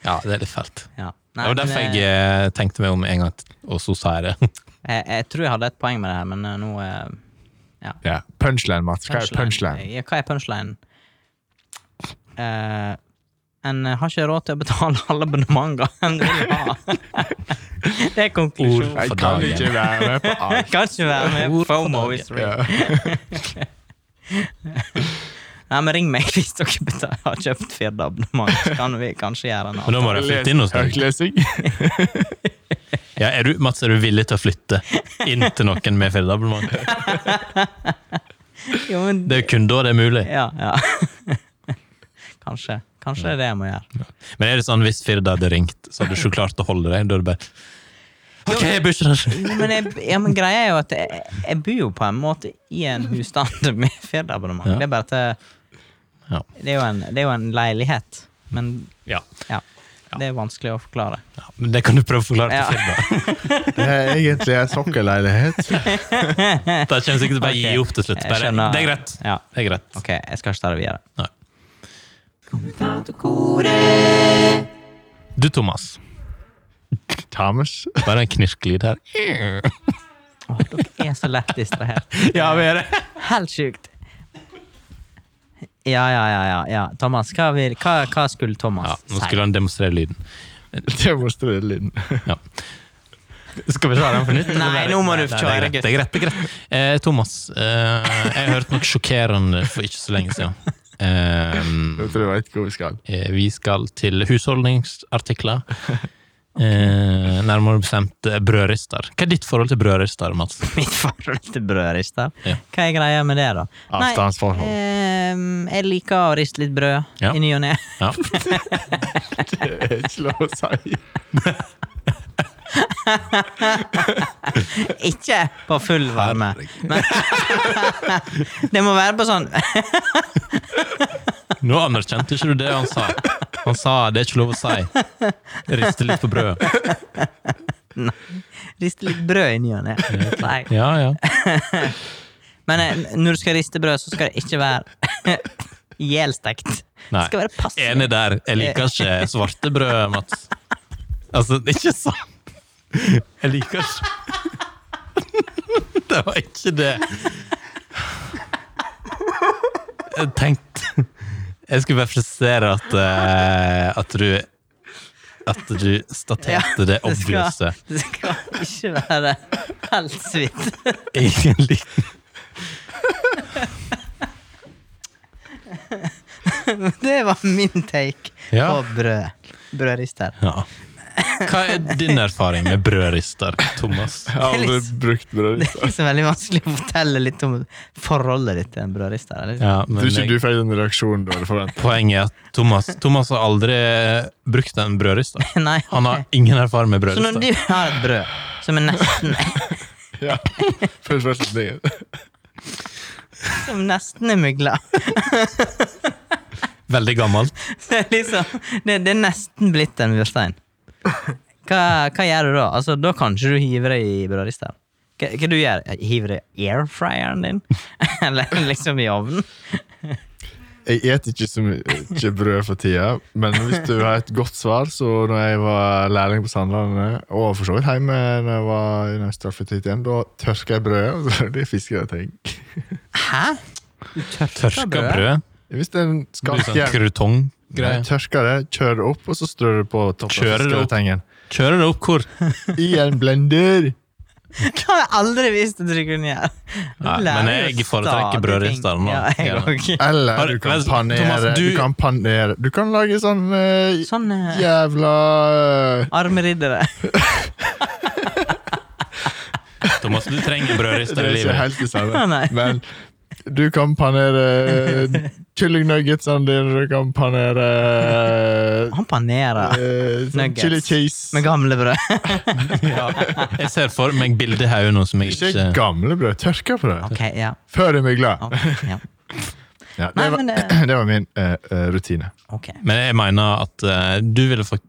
S1: Ja, det er litt fælt.
S2: Ja.
S1: Det var
S2: men,
S1: derfor jeg
S2: eh,
S1: eh, tenkte meg om en gang, og så sa jeg det.
S2: jeg, jeg tror jeg hadde et poeng med det her, men eh, nå eh,
S3: Ja. Punchline, Mats. Hva er punchline?
S2: Ja, hva er punchline? Eh, en har ikke råd til å betale alle abonnementer en vil ha. det er konklusjonen.
S1: Ord.
S3: Jeg kan ikke være med på alt.
S2: Kan ikke være med på
S1: Ord for
S2: FOMO.
S1: dagen.
S2: is real.
S3: Ja.
S2: Nei, men ring meg hvis dere betaler, har kjøpt Firda-abonnement, så kan vi kanskje gjøre en
S1: Men da må de flytte inn hos deg.
S3: Høytlesing.
S1: Ja, er du, Mats, er du villig til å flytte inn til noen med ferdigabonnement?
S2: avtale. Jo, men
S1: Det er jo kun da det er mulig.
S2: Ja, ja. Kanskje. Kanskje det er det jeg må gjøre.
S1: Men er det sånn hvis Firda hadde ringt, så hadde du ikke klart å holde deg? Da er det bare OK, jeg bør ikke det.
S2: Men, jeg, ja, men greia er jo at jeg, jeg bor jo på en måte i en husstand med Firda-abonnement.
S1: Ja.
S2: Det er bare at jeg,
S1: Ja.
S2: det, er jo en, det er jo en leilighet. Men
S1: Ja.
S2: ja, det er vanskelig å forklare.
S1: ja. Men det kan du prøve å forklare
S2: Ja.
S1: til Firda.
S3: Det er egentlig en sokkelleilighet.
S1: Da kommer jeg sikkert til å bare
S2: Ok.
S1: gi opp til slutt.
S2: Jeg
S1: Bare,
S2: skjønner.
S1: det er greit.
S2: Ja,
S1: Det er greit.
S2: ok, jeg skal ikke ta det videre.
S1: Nei. Du, Thomas.
S3: Thomas.
S1: Bare en knirkelyd her.
S2: Åh, dere er så lett distrahert.
S1: Ja, vi er det.
S2: Helt sjukt. Ja, ja, ja. ja, ja. Thomas, hva, vil, hva, hva
S1: Ja,
S2: skulle Thomas
S1: nå
S2: si?
S1: skulle han demonstrere lyden.
S3: Det må strille lyden.
S1: Ja. Skal vi ta den på nytt? eller?
S2: Nei, nå må du
S1: Nei, Det er
S2: kjøre,
S1: greit. det er greit, det er greit. Eh, Thomas, eh, jeg hørte noe sjokkerende for ikke så lenge siden. Eh,
S3: Jeg tror jeg vet hvor vi skal.
S1: eh, vi skal til husholdningsartikler. Eh, nærmere bestemt eh, brødrister. Hva er ditt forhold til brødrister, Mats?
S2: Mitt forhold til brødrister.
S1: Ja.
S2: Hva er greia med det, da? Nei,
S3: Avstandsforhold.
S2: ehm, jeg liker å riste litt brød
S1: Ja.
S2: i ny og ne.
S1: Ja.
S3: Det er ikke lov å si.
S2: Ikke på full varme. Men det må være på sånn
S1: Nå anerkjente ikke du det han sa. Han sa det er ikke lov å si. Riste litt på brødet.
S2: Riste litt brød i ny og ne. Nei.
S1: Ja, ja.
S2: Men eh, når du skal riste brød, så skal det ikke være ihjelstekt. Det
S1: Nei.
S2: skal være passende.
S1: Enig der. Jeg liker ikke svartebrød, Mats. Altså, det er ikke sånn. Jeg liker ikke Det var ikke det. Jeg tenkte Jeg skulle bare presisere at, eh, at du At du staterte det
S2: det
S1: obvious.
S2: skal, det skal ikke være halvsvitt.
S1: Egentlig
S2: Det var min take på
S1: Ja.
S2: brød. Brødrister.
S1: ja. Hva er din erfaring med brødrister, Thomas?
S3: Jeg har aldri
S2: Ellis.
S3: brukt brød.
S2: Det er liksom veldig vanskelig å fortelle litt om forholdet ditt til en brødrister. eller?
S1: Ja, men
S3: Tror ikke
S1: jeg-
S3: du fikk den reaksjonen du hadde forventet.
S1: Poenget er at Thomas, Thomas har aldri brukt en brødrister.
S2: Nei, ok.
S1: Han har ingen erfaring med
S2: Så når
S1: brødrister.
S2: du har et brød som er nesten,
S3: Ja. Først versus det.
S2: som nesten er mygla
S1: Veldig gammelt.
S2: det, er liksom, det, det er nesten blitt en murstein. Hva, hva gjør du da? Altså, Da kan ikke du hive deg i brødristeren. Hva, hva du gjør du? Hiver deg i airfryeren din? Eller liksom i ovnen?
S3: Jeg et ikke så mye brød for tida, men hvis du har et godt svar, så når jeg var lærling på Sandlandet, og for så vidt hjemme når jeg var i straffetid igjen, da tørka jeg brødet, og så lagde jeg fiskegrating.
S2: Hæ? Du tørker
S1: Tørka brød.
S3: Hvis det er en
S1: Blir sånn
S3: skalkjern
S1: krutonggreie.
S3: Tørker det, kjører det opp, og så strør du på toppen av
S1: Kjører det opp?
S3: fiskegratingen.
S1: Kjører det opp hvor?
S3: I en blender!
S2: Det har jeg aldri visst at du kunne gjøre. Du
S1: Nei,
S2: lærer
S1: men jeg
S2: jo
S1: foretrekker
S2: stadig
S1: brødrister
S2: ting.
S1: nå.
S2: Ja, jeg også.
S1: Har-
S3: Eller du kan
S1: men,
S3: panere.
S1: Thomas,
S3: du...
S1: du-
S3: kan panere. Du kan lage sånn eh,
S2: Sånn eh,
S3: jævla
S2: arme riddere.
S1: Thomas, du trenger brødrister i
S3: Det er ikke
S1: livet.
S3: helt det
S2: Ah,
S3: samme.
S2: nei.
S3: Men du kan panere eh, kyllingnuggetsene dine, du kan panere eh,
S2: Han panerer
S3: eh, sånn
S2: Nuggets.
S3: chili cheese.
S2: med gamle brød.
S1: Jeg ser for meg bildet i hodet nå som jeg
S3: Ikke
S1: ikke
S3: gamle brød, tørka brød.
S2: Ok, ja.
S3: Før du blir glad.
S2: Ok, ja.
S3: Ja, det,
S2: Nei,
S3: var,
S2: men det-
S3: det var min eh, eh, rutine.
S2: ok.
S1: Men jeg mener at eh, du ville fått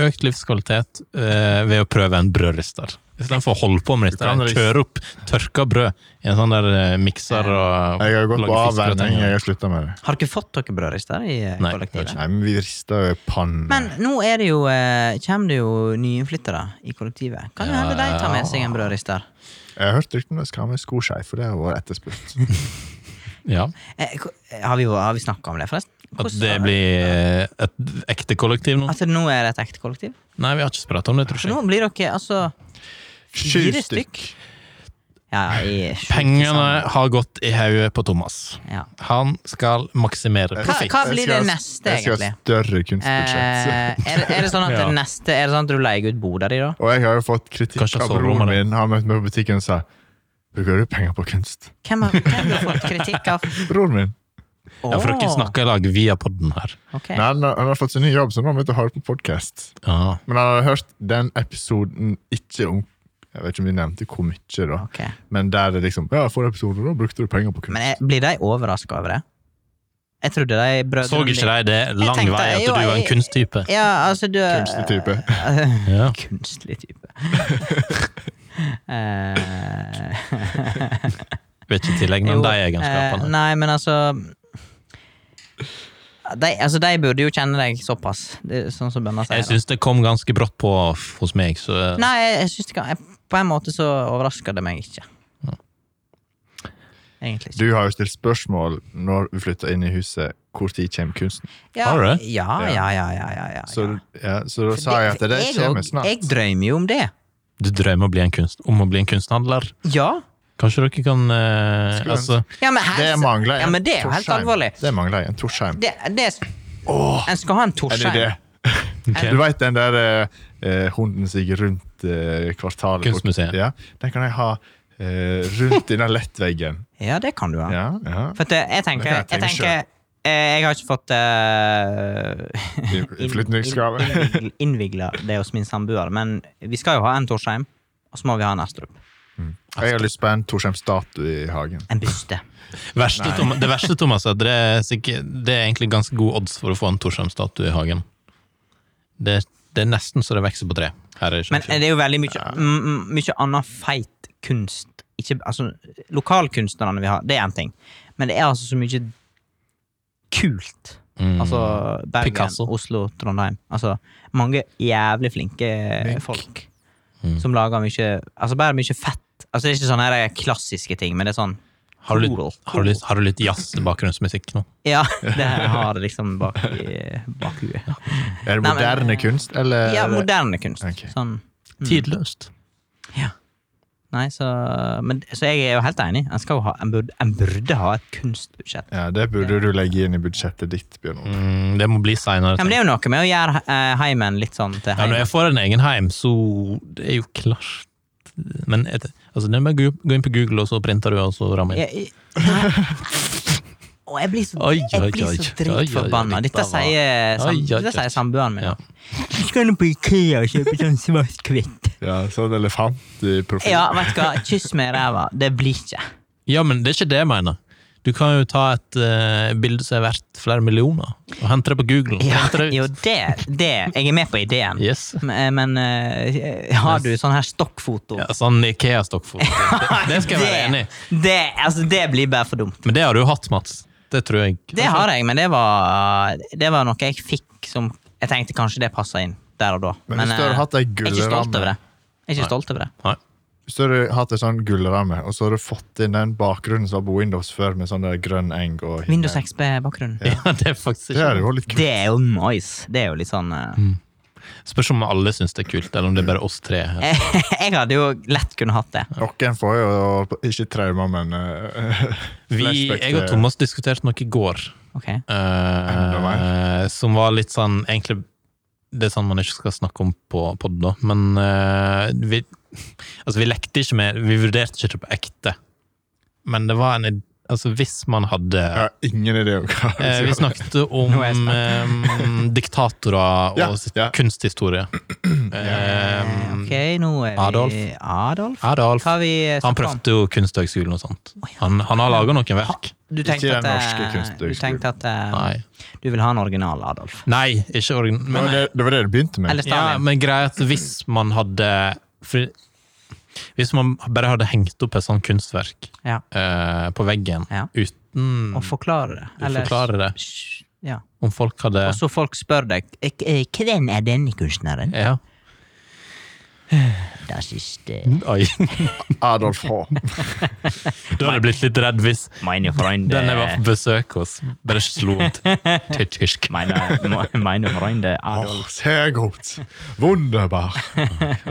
S1: økt livskvalitet eh, ved å prøve en brødrister. Istedenfor å holde på med
S3: Du kan
S1: dette. Kjøre opp tørka brød i en sånn der eh, mikser og
S3: Jeg har gått på
S1: lage
S3: avvenning.
S1: fiskegratenger.
S3: Jeg har slutta med det.
S2: Har dere fått dere brødrister i eh,
S1: Nei,
S2: kollektivet?
S3: Nei, men vi rista jo panne.
S2: Men nå er det jo, eh, kommer det jo nyinnflyttere i kollektivet. Kan jo
S1: Ja.
S2: hende de tar med seg en brødrister.
S3: Jeg har hørt ryktene om at jeg skal ha med skoskei, for det har vært etterspurt.
S1: Ja.
S2: Eh, ko- har vi, jo- har vi snakka om det, forresten?
S1: At
S2: Hvordan-
S1: det blir eh, et ekte kollektiv nå?
S2: At det Altså, nå er et ekte kollektiv?
S1: Nei, vi har ikke pratet om det, tror
S2: Så
S1: jeg.
S2: nå blir dere altså
S3: Sju
S2: fire
S3: stykk.
S2: stykk. Ja, i sju til
S1: Pengene
S2: sammen.
S1: har gått i hodet på Thomas.
S2: Ja.
S1: Han skal maksimere
S2: Hva,
S1: profitt.
S2: hva blir det
S3: Jeg skal-
S2: neste,
S3: Jeg skal ha
S2: egentlig? Eh,
S3: større kunstbudsjett.
S2: er, det- er det sånn at
S1: Ja.
S2: det neste Er det sånn at du leier ut boder di, da?
S3: Og jeg har jo fått kritikk
S1: Kanskje
S3: av
S1: soverommet
S3: broren min. Han møtte meg på butikken og sa Bruker du penger på kunst?
S2: Hvem har, hvem har du fått kritikk av?
S3: Broren min.
S1: Ja, for dere
S2: Åh,
S1: snakker i lag via podden her.
S2: ok.
S3: Nei, han, har- han har fått seg ny jobb, så nå har han begynt å høre på podkast.
S1: Ja.
S3: Men han har hørt den episoden ikke om Jeg vet ikke om vi nevnte hvor mye, da.
S2: Ok.
S3: Men der det liksom Ja, forrige episode, da brukte du penger på kunst.
S2: Men jeg, blir de overraska over det? Jeg trodde de brødrene
S1: Så ikke de det lang
S2: tenkte,
S1: vei at
S2: jo,
S1: du var en
S2: jeg-
S1: kunsttype?
S2: Ja, altså du
S3: Kunstig type.
S2: eh,
S1: Ja.
S2: Kunstig type. Eh,
S1: Vet ikke tillegg, men
S2: jo,
S1: de
S2: eh,
S1: egenskapene.
S2: Nei, men altså de, altså de burde jo kjenne deg såpass, det, er sånn som bønder sier.
S1: Jeg
S2: da.
S1: syns det kom ganske brått på f- hos meg, så eh,
S2: Nei, jeg, jeg synes det kan, jeg, på en måte så overrasker det meg ikke.
S1: Mm.
S2: Egentlig ikke.
S3: Du har jo stilt spørsmål når vi flytta inn i huset, hvor tid kommer kunsten?
S2: Ja,
S1: Har du det?
S2: Ja, ja, ja. ja, ja, ja.
S3: Så, ja, så da
S2: For
S3: sa jeg at
S2: for
S3: det
S2: jeg
S3: kommer
S2: og-
S3: snart.
S2: Jeg drømmer jo om det.
S1: du drømmer å bli en kunst, om å bli en kunsthandler.
S2: Ja.
S1: Kanskje dere kan eh,
S3: Skulle
S1: Altså,
S2: ja men her,
S3: Det mangler en
S2: Ja, men det er jo helt
S3: Torsheim.
S2: alvorlig.
S3: Det mangler en Torsheim.
S2: Det, det er, en skal ha en
S3: Er det
S2: Torsheim.
S3: det?
S1: Ok.
S3: Du veit den der eh, eh, hunden som gikk rundt eh, kvartalet? på-
S1: Kunstmuseet.
S3: Ja, den kan jeg ha eh, rundt i den lettveggen.
S2: Ja, det kan du ha.
S3: Ja, ja.
S2: For at, eh, jeg tenker,
S3: Det
S2: jeg,
S3: kan jeg tenke
S2: tenker eh, jeg har ikke fått uh,
S3: I- i Flytningsgave.
S2: innvigla det hos min samboer, men vi skal jo ha en Torsheim, og så må vi ha en Astrup.
S3: Jeg har lyst på en Torsheim-statue i hagen.
S2: En byste.
S1: Verste, Tom, det verste, Thomas, er at det er, sikkert, det er egentlig ganske gode odds for å få en Torsheim-statue i hagen. Det, det er nesten så det vokser på tre. Her er
S2: Men
S1: det
S2: eh, det er jo veldig mye, m- m- mye annen feit kunst. Ikke, altså, lokalkunstnerne vi har, det er én ting, men det er altså så mye kult.
S1: Mm.
S2: Altså Bergen,
S1: Picasso.
S2: Oslo, Trondheim. Altså mange jævlig flinke folk
S1: Mm.
S2: som lager mye Altså bare mye fett. Altså Det er ikke sånne her klassiske ting, men det er sånn
S1: har, du
S2: cool.
S1: litt, har, du litt, har du litt jazz-bakgrunnsmusikk nå?
S2: Ja, det har jeg liksom bak, i- bak huet.
S3: Er det
S2: Nei, men-
S3: moderne kunst,
S1: Eh,
S3: eller?
S2: Ja, moderne kunst.
S3: Ok.
S2: Sånn.
S1: Tidløst.
S2: Nei, så, men, så jeg er jo helt enig. En, skal jo ha, en, burde, en burde ha et kunstbudsjett.
S3: Ja, Det burde du legge inn i budsjettet ditt, Bjørn Ole.
S1: Mm, det må bli seinere.
S2: Ja, men det er jo noe med å gjøre eh, heimen litt sånn til
S1: Ja, når
S2: heimen.
S1: jeg får en egen heim, så det er jo klart Men et, altså, det er bare å gå- gå inn på Google, og så printer du, og så rammer inn.
S2: Jeg- jeg- Og jeg blir så,
S1: Oi, oi,
S2: jeg blir
S1: oi,
S2: så
S1: oi, oi, oi,
S2: dritforbanna. Dette
S1: dette var-
S2: sier, sam,
S1: Oi, oi,
S2: dette
S1: oi.
S2: sier samboeren min.
S1: Ja.
S2: Du skal nå på Ikea og kjøpe sånn svart kvitt.
S3: Ja, sånn elefant i profil.
S2: Ja, vet du hva. Kyss meg i ræva. Det blir ikke.
S1: Ja, men det er ikke det jeg mener. Du kan jo ta et eh, bilde som er verdt flere millioner, og hente det på Google.
S2: Ja,
S1: Hente det ut.
S2: jo, det, det Jeg er med på ideen.
S1: Yes.
S2: Men, men eh, har du sånn her stokkfoto?
S1: Ja, sånn Ikea-stokkfoto. Det, det skal jeg være enig i.
S2: Det, altså, det blir bare for dumt.
S1: Men det har du hatt, Mats. Det tror jeg.
S2: Det har jeg, men det var, det var noe jeg fikk som Jeg tenkte kanskje det passa inn der og da.
S3: Men hvis du hadde
S2: eh,
S3: hatt ei
S2: jeg er ikke stolt over det.
S3: gullramme,
S2: Jeg er ikke stolt over det.
S1: Nei.
S3: Hvis du hadde hatt en sånn gullramme, og så hadde du fått inn den bakgrunnen som var på Windows før, med sånn der grønn eng og hinne.
S2: Windows XB-bakgrunnen.
S1: Ja, det er faktisk
S3: Det er
S1: ikke
S3: jo litt kult.
S2: Det er jo nice. Det er jo litt sånn eh,
S1: Mm. Spørs om alle syns det er kult, eller om det er bare oss tre. her.
S2: Jeg hadde jo lett kunne hatt det.
S3: Noen får jo ikke traumer, men eh,
S1: Vi,
S3: flashback
S1: jeg og
S3: til-
S1: Thomas diskuterte noe i går
S2: Ok.
S1: eh, som var litt sånn Egentlig det er sånn man ikke skal snakke om på pod, da, men eh, vi, altså, vi lekte ikke med Vi vurderte ikke det på ekte, men det var en id- Altså, hvis man hadde
S3: Jeg har ingen idé om hva
S1: Eh, vi snakket om
S2: Nå er jeg
S1: eh, diktatorer og
S3: Ja,
S1: sitt
S3: ja.
S1: kunsthistorie.
S2: Eh,
S1: Eh,
S2: ok, nå er vi
S1: Adolf.
S2: Adolf?
S1: Adolf.
S2: Hva har vi eh,
S1: Han
S2: snakket om?
S1: prøvde jo Kunsthøgskolen og sånt. Han, han har laga noen verk.
S2: Du tenkte
S3: Ikke
S2: at,
S3: den
S2: eh,
S3: norske kunstnerhøgskolen.
S2: du, tenkte at eh,
S1: Nei,
S2: du vil ha en original Adolf.
S1: Nei ikke organ...
S3: Det var
S1: Men,
S3: det, det var det det begynte med.
S2: Eller
S1: ja,
S2: Stalin.
S1: men greia er at hvis man hadde for, Hvis man bare hadde hengt opp et sånt kunstverk
S2: Ja.
S1: eh, på veggen
S2: Ja.
S1: uten
S2: Og forklare det.
S1: å forklare det,
S2: Sh- Ja.
S1: om folk hadde
S2: Og så folk spør deg "K- eh, Hvem er denne kunstneren?
S1: ja.
S2: Det siste
S1: Oi.
S3: Adolf H.
S1: Da hadde jeg blitt litt redd hvis
S2: Meine Freunde
S1: den jeg var på besøk hos, bare slo om til til tysk.
S2: Meine, meine Freunde Adolf.
S3: Åh, sehr gut. Wunderbar.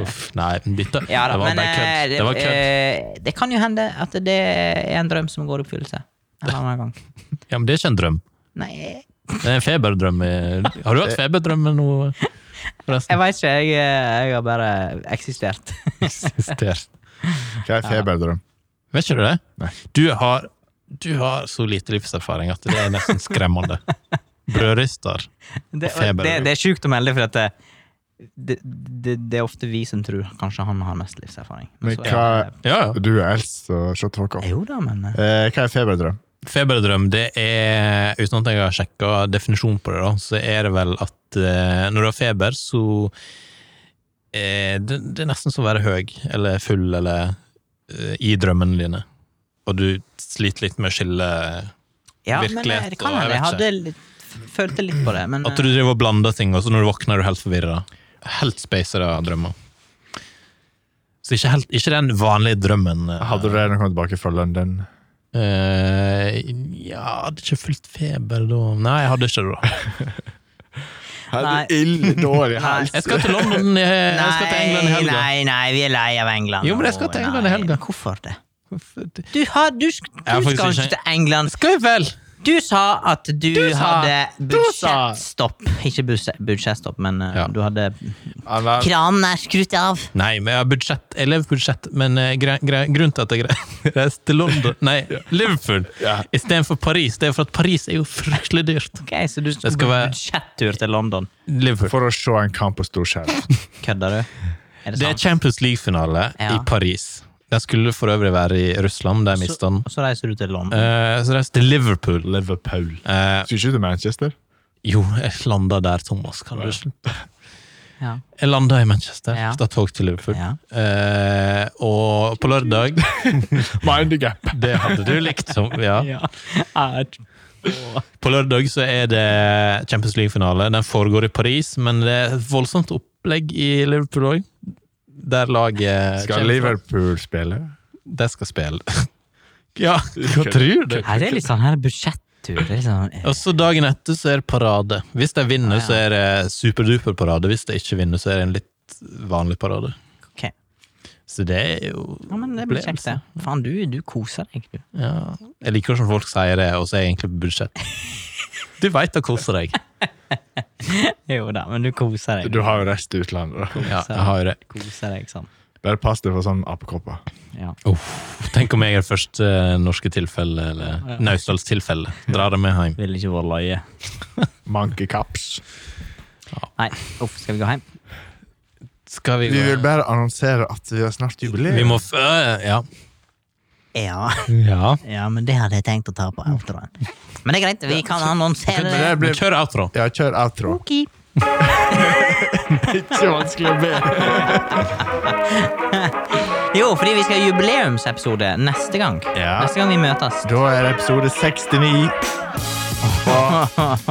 S1: Uff, nei, dette,
S2: Ja
S1: det
S2: da,
S1: var
S2: men
S1: bare
S2: eh,
S1: kødd.
S2: det,
S1: Det var kødd.
S2: eh, det kan jo hende at det er en drøm som går i oppfyllelse. En annen gang.
S1: Ja, men det er ikke en drøm.
S2: Nei,
S1: Det er en feberdrøm. i- Har du hatt feberdrøm nå,
S2: jeg
S1: forresten?
S2: veit ikke. Jeg, eh, jeg har bare eksistert.
S1: Eksistert.
S3: Hva er feberdrøm?
S1: Vet ikke du det?
S3: Nei.
S1: Du har, du har så lite livserfaring at det er nesten skremmende. Brødrister.
S2: Det, og
S1: feber.
S2: det, det er sjukt å melde, for at det, det, det, det er ofte vi som tror kanskje han har mest livserfaring.
S3: Men
S2: så er
S3: hva,
S1: Ja, ja.
S3: du er eldst, så shut the fuck up.
S2: det- Jo da, men eh,
S3: Eh, hva er feberdrøm?
S1: Feberdrøm, det er Uten at jeg har sjekka definisjonen på det, da, så er det vel at eh, når du har feber, så eh, det, det er nesten som å være høy eller full eller eh, i drømmene dine. Og du sliter litt med å skille
S2: Ja, men eh,
S1: virkelighet,
S2: det kan
S1: og jeg vet
S2: hende. Jeg
S1: ikke.
S2: hadde litt, følte litt på det, men
S1: At du driver og blander ting, og så når du våkner, er du helt forvirra. Helt spacer av drømmer. Så ikke, helt, ikke den vanlige drømmen. eh,
S3: Hadde du det når du kom tilbake fra London?
S1: eh, ja, jeg hadde ikke fullt feber da. Nei, jeg hadde ikke det da.
S2: Nei.
S3: ille dårlig hals.
S1: Jeg skal til London, i- jeg skal til England i helga.
S2: eh, Nei, nei, vi er lei av England.
S1: Jo, men jeg skal
S2: nå.
S1: til England i
S2: Nei,
S1: helga.
S2: Hvorfor det?
S1: Hvorfor det-
S2: Du, har, du, sk- du
S1: har faktisk
S2: skal
S1: ikke-
S2: ikke til England.
S1: Skal jeg vel?
S2: Du sa at du,
S1: Du sa-
S2: hadde
S3: du sa-
S2: budsjettstopp. Ikke budsje- budsjettstopp, men eh,
S1: Ja.
S2: du hadde
S3: Eller,
S2: Kranen er skrudd av.
S1: Nei, vi har budsjett, elevbudsjett, men eh, gre gre grunnen til at jeg re- reiste til London Nei, Liverpool
S3: Ja.
S1: istedenfor Paris. Det er for at Paris er jo fryktelig dyrt.
S2: Ok, Så du
S1: Det
S2: skal
S1: skal
S2: på
S1: være-
S2: budsjettur til London?
S1: Liverpool.
S3: for å se en kamp på stor skjerm.
S2: Kødder du? Er det
S1: Det er
S2: sant?
S1: Champions League-finale
S2: Ja.
S1: i Paris. Den skulle for øvrig være i Russland, der mista den.
S2: Og så reiser du til London.
S1: Eh, så reiste til Liverpool.
S3: Liverpool.
S1: Eh,
S3: Skulle ikke du til Manchester?
S1: jo, jeg landa der, Thomas. Kan du slutte?
S2: Ja.
S1: Jeg landa i Manchester.
S2: Ja.
S1: Da tog til Liverpool.
S2: Ja.
S1: Eh, og på lørdag
S3: Mind the gap.
S1: Det hadde du likt, som, ja.
S2: Er-
S1: På lørdag så er det Champions League-finale. Den foregår i Paris, men det er et voldsomt opplegg i Liverpool òg. Der laget
S3: Skal Liverpool spille?
S1: De skal spille. ja, hva tror du?
S2: Nei, det er litt sånn her budsjettur. Det er litt sånn, eh,
S1: Og så dagen etter så er det parade. Hvis de
S2: Ah,
S1: vinner, så er det superduper parade. Hvis de ikke vinner, så er det en litt vanlig parade.
S2: ok.
S1: Så det er jo
S2: Ja, men det blir kjekt, det. Faen, du, du koser deg, du.
S1: Ja. Jeg liker hvordan folk sier det, og så er jeg egentlig på budsjett. Du veit å kose deg.
S2: Jo da, men du koser deg.
S3: Du har jo reist til utlandet. da.
S1: Ja, jeg har jo det.
S2: Koser deg sånn.
S3: Bare pass deg for sånne apekopper.
S2: Ja.
S1: Uff, tenk om jeg er det første norske tilfelle, eller
S2: Ja.
S1: Naustdalstilfelle. Dra det med hjem.
S2: Ville ikke vært løye.
S3: Monkey caps.
S2: Nei, uff, skal vi gå hjem?
S1: Skal vi
S3: Vi vil
S1: gå
S3: bare annonsere at vi har snart jubileum.
S1: Vi må f... øh, Ja.
S2: Ja.
S1: ja.
S2: ja, men det hadde jeg tenkt å ta på
S3: Mm.
S2: outroen. Men det er greit, vi kan annonsere
S3: Men det
S2: det.
S1: Vi
S3: blir...
S1: kjører outro.
S3: Ja, kjør outro.
S2: Ok.
S3: Ikke vanskelig å be.
S2: Jo, fordi vi skal ha jubileumsepisode neste gang.
S3: Ja.
S2: Neste gang vi møtes.
S3: Da er det episode 69. Og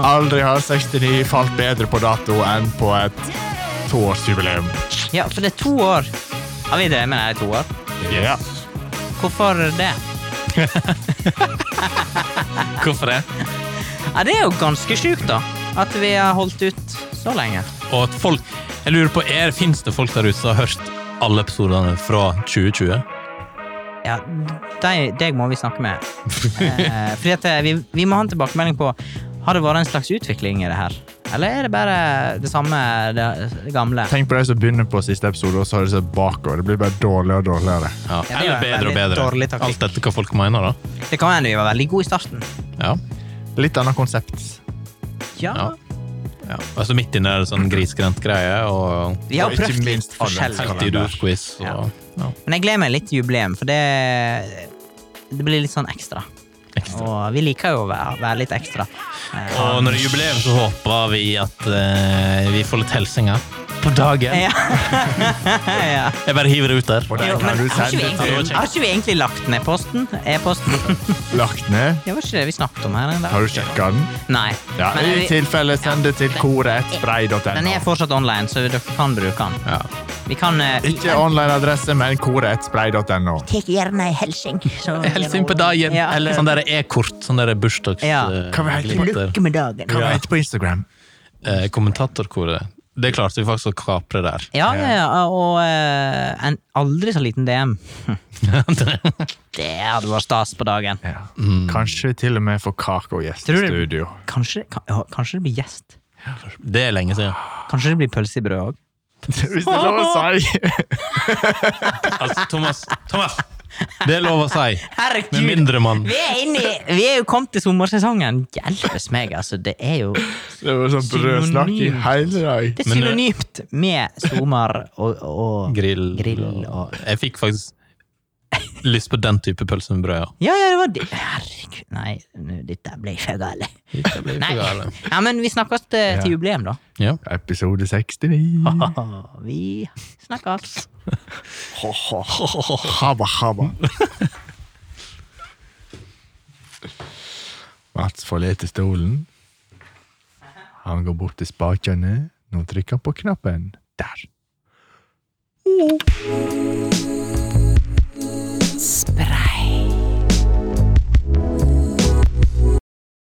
S3: aldri har 69 falt bedre på dato enn på et toårsjubileum.
S2: Ja, for det er to år. Har vi drevet med det her i to år?
S3: Ja.
S2: Hvorfor det?
S1: Hvorfor det?
S2: Ja, det er jo ganske sjukt, da. At vi har holdt ut så lenge.
S1: Og at folk Jeg lurer på, er fins det folk der ute som har hørt alle episodene fra 2020?
S2: Ja, deg, deg må vi snakke med. Eh, fordi at eh, vi, vi må ha en tilbakemelding på Har det vært en slags utvikling i det her? Eller er det bare det samme, det, det gamle?
S3: Tenk på de som begynner på siste episode, og så har de sett bakover. Det blir bare dårligere og dårligere.
S1: Ja.
S2: det er
S1: Eller
S2: en
S1: bedre og
S2: veldig dårlig
S1: bedre?
S2: taktikk.
S1: Alt etter hva folk mener, da.
S2: Det kan hende vi var veldig gode i starten.
S1: Ja.
S3: Litt annet konsept.
S2: Ja.
S1: Ja. ja. Altså midt inne er det sånn grisgrendt-greie, og
S2: Vi har
S3: Og
S2: jo
S3: ikke
S2: prøvd
S3: minst
S2: litt
S3: adventskalender.
S2: forskjellig.
S1: Idiot-quiz
S2: Ja.
S1: og ja.
S2: Men jeg gleder meg litt til jubileum, for det, det blir litt sånn ekstra.
S1: ekstra.
S2: Og vi liker jo å være, være litt ekstra. Eh,
S1: Og når det er jubileum, så håper vi at eh, vi får litt helsinger på dagen.
S2: Ja. ja.
S1: Jeg bare hiver det ut der.
S3: Og den
S2: Jo,
S3: kan
S2: men
S3: du
S2: har ikke, vi
S3: sende
S2: egentlig,
S3: til
S2: har ikke vi egentlig lagt ned posten? E-posten?
S3: Lagt ned.
S2: Det var ikke det vi snakket om her en dag.
S3: Har du sjekka den?
S2: Nei.
S3: Ja,
S2: Men
S3: I
S2: vi-
S3: tilfelle, send det til
S2: den
S3: koret1spray.no.
S2: er fortsatt online, så dere kan bruke den.
S1: Ja.
S2: Vi kan eh,
S3: Ikke online-adresse, men koret1spray.no.
S4: Tek gjerne ei helsing. så-
S1: Helsing på dagen.
S2: Ja.
S1: Eller sånn der e-kort. Sånn der bursdags...
S2: Ja.
S1: eh,
S3: Kan vi helt-
S1: glitter.
S4: Lykke med dagen.
S3: Hva heter på Instagram?
S1: Eh, kommentatorkoret. Det klarte vi faktisk å kapre der.
S2: Ja, ja, ja, og eh, en aldri så liten DM. Det hadde vært stas på dagen.
S3: Ja. Kanskje vi til og med får kake og gjest i
S2: Tror du-
S3: studio.
S2: Kanskje, kan, ja, kanskje det blir gjest.
S1: Det er lenge siden.
S2: Kanskje det blir pølse i brød òg.
S3: Hvis det er lov å si!
S1: Altså, Thomas, Thomas! Det er lov å si. Med
S2: Herregud!
S1: mindre man
S2: Vi er, inne i, vi er jo kommet til sommersesongen. Hjelpes meg, altså. Det er jo
S3: Det var sånn brødsnakk i
S2: Synonymt.
S3: hele dag.
S2: Det er
S1: Men, eh,
S2: synonymt med sommer og, og
S1: grill,
S2: Grill og-
S1: Jeg fikk faktisk lyst på den type pølse med brød.
S2: Ja, ja, det var det. Herregud, nei, nå, dette ble ikke gale.
S1: Ja. Det blir
S2: Nei.
S1: for gale.
S2: Ja, men vi snakkes til, til jubileum, da.
S1: Ja.
S3: Episode 69.
S2: Vi snakkes.
S3: Haba, haba. Mats forlater stolen. Han går bort til spakene. Nå trykker han på knappen. Der.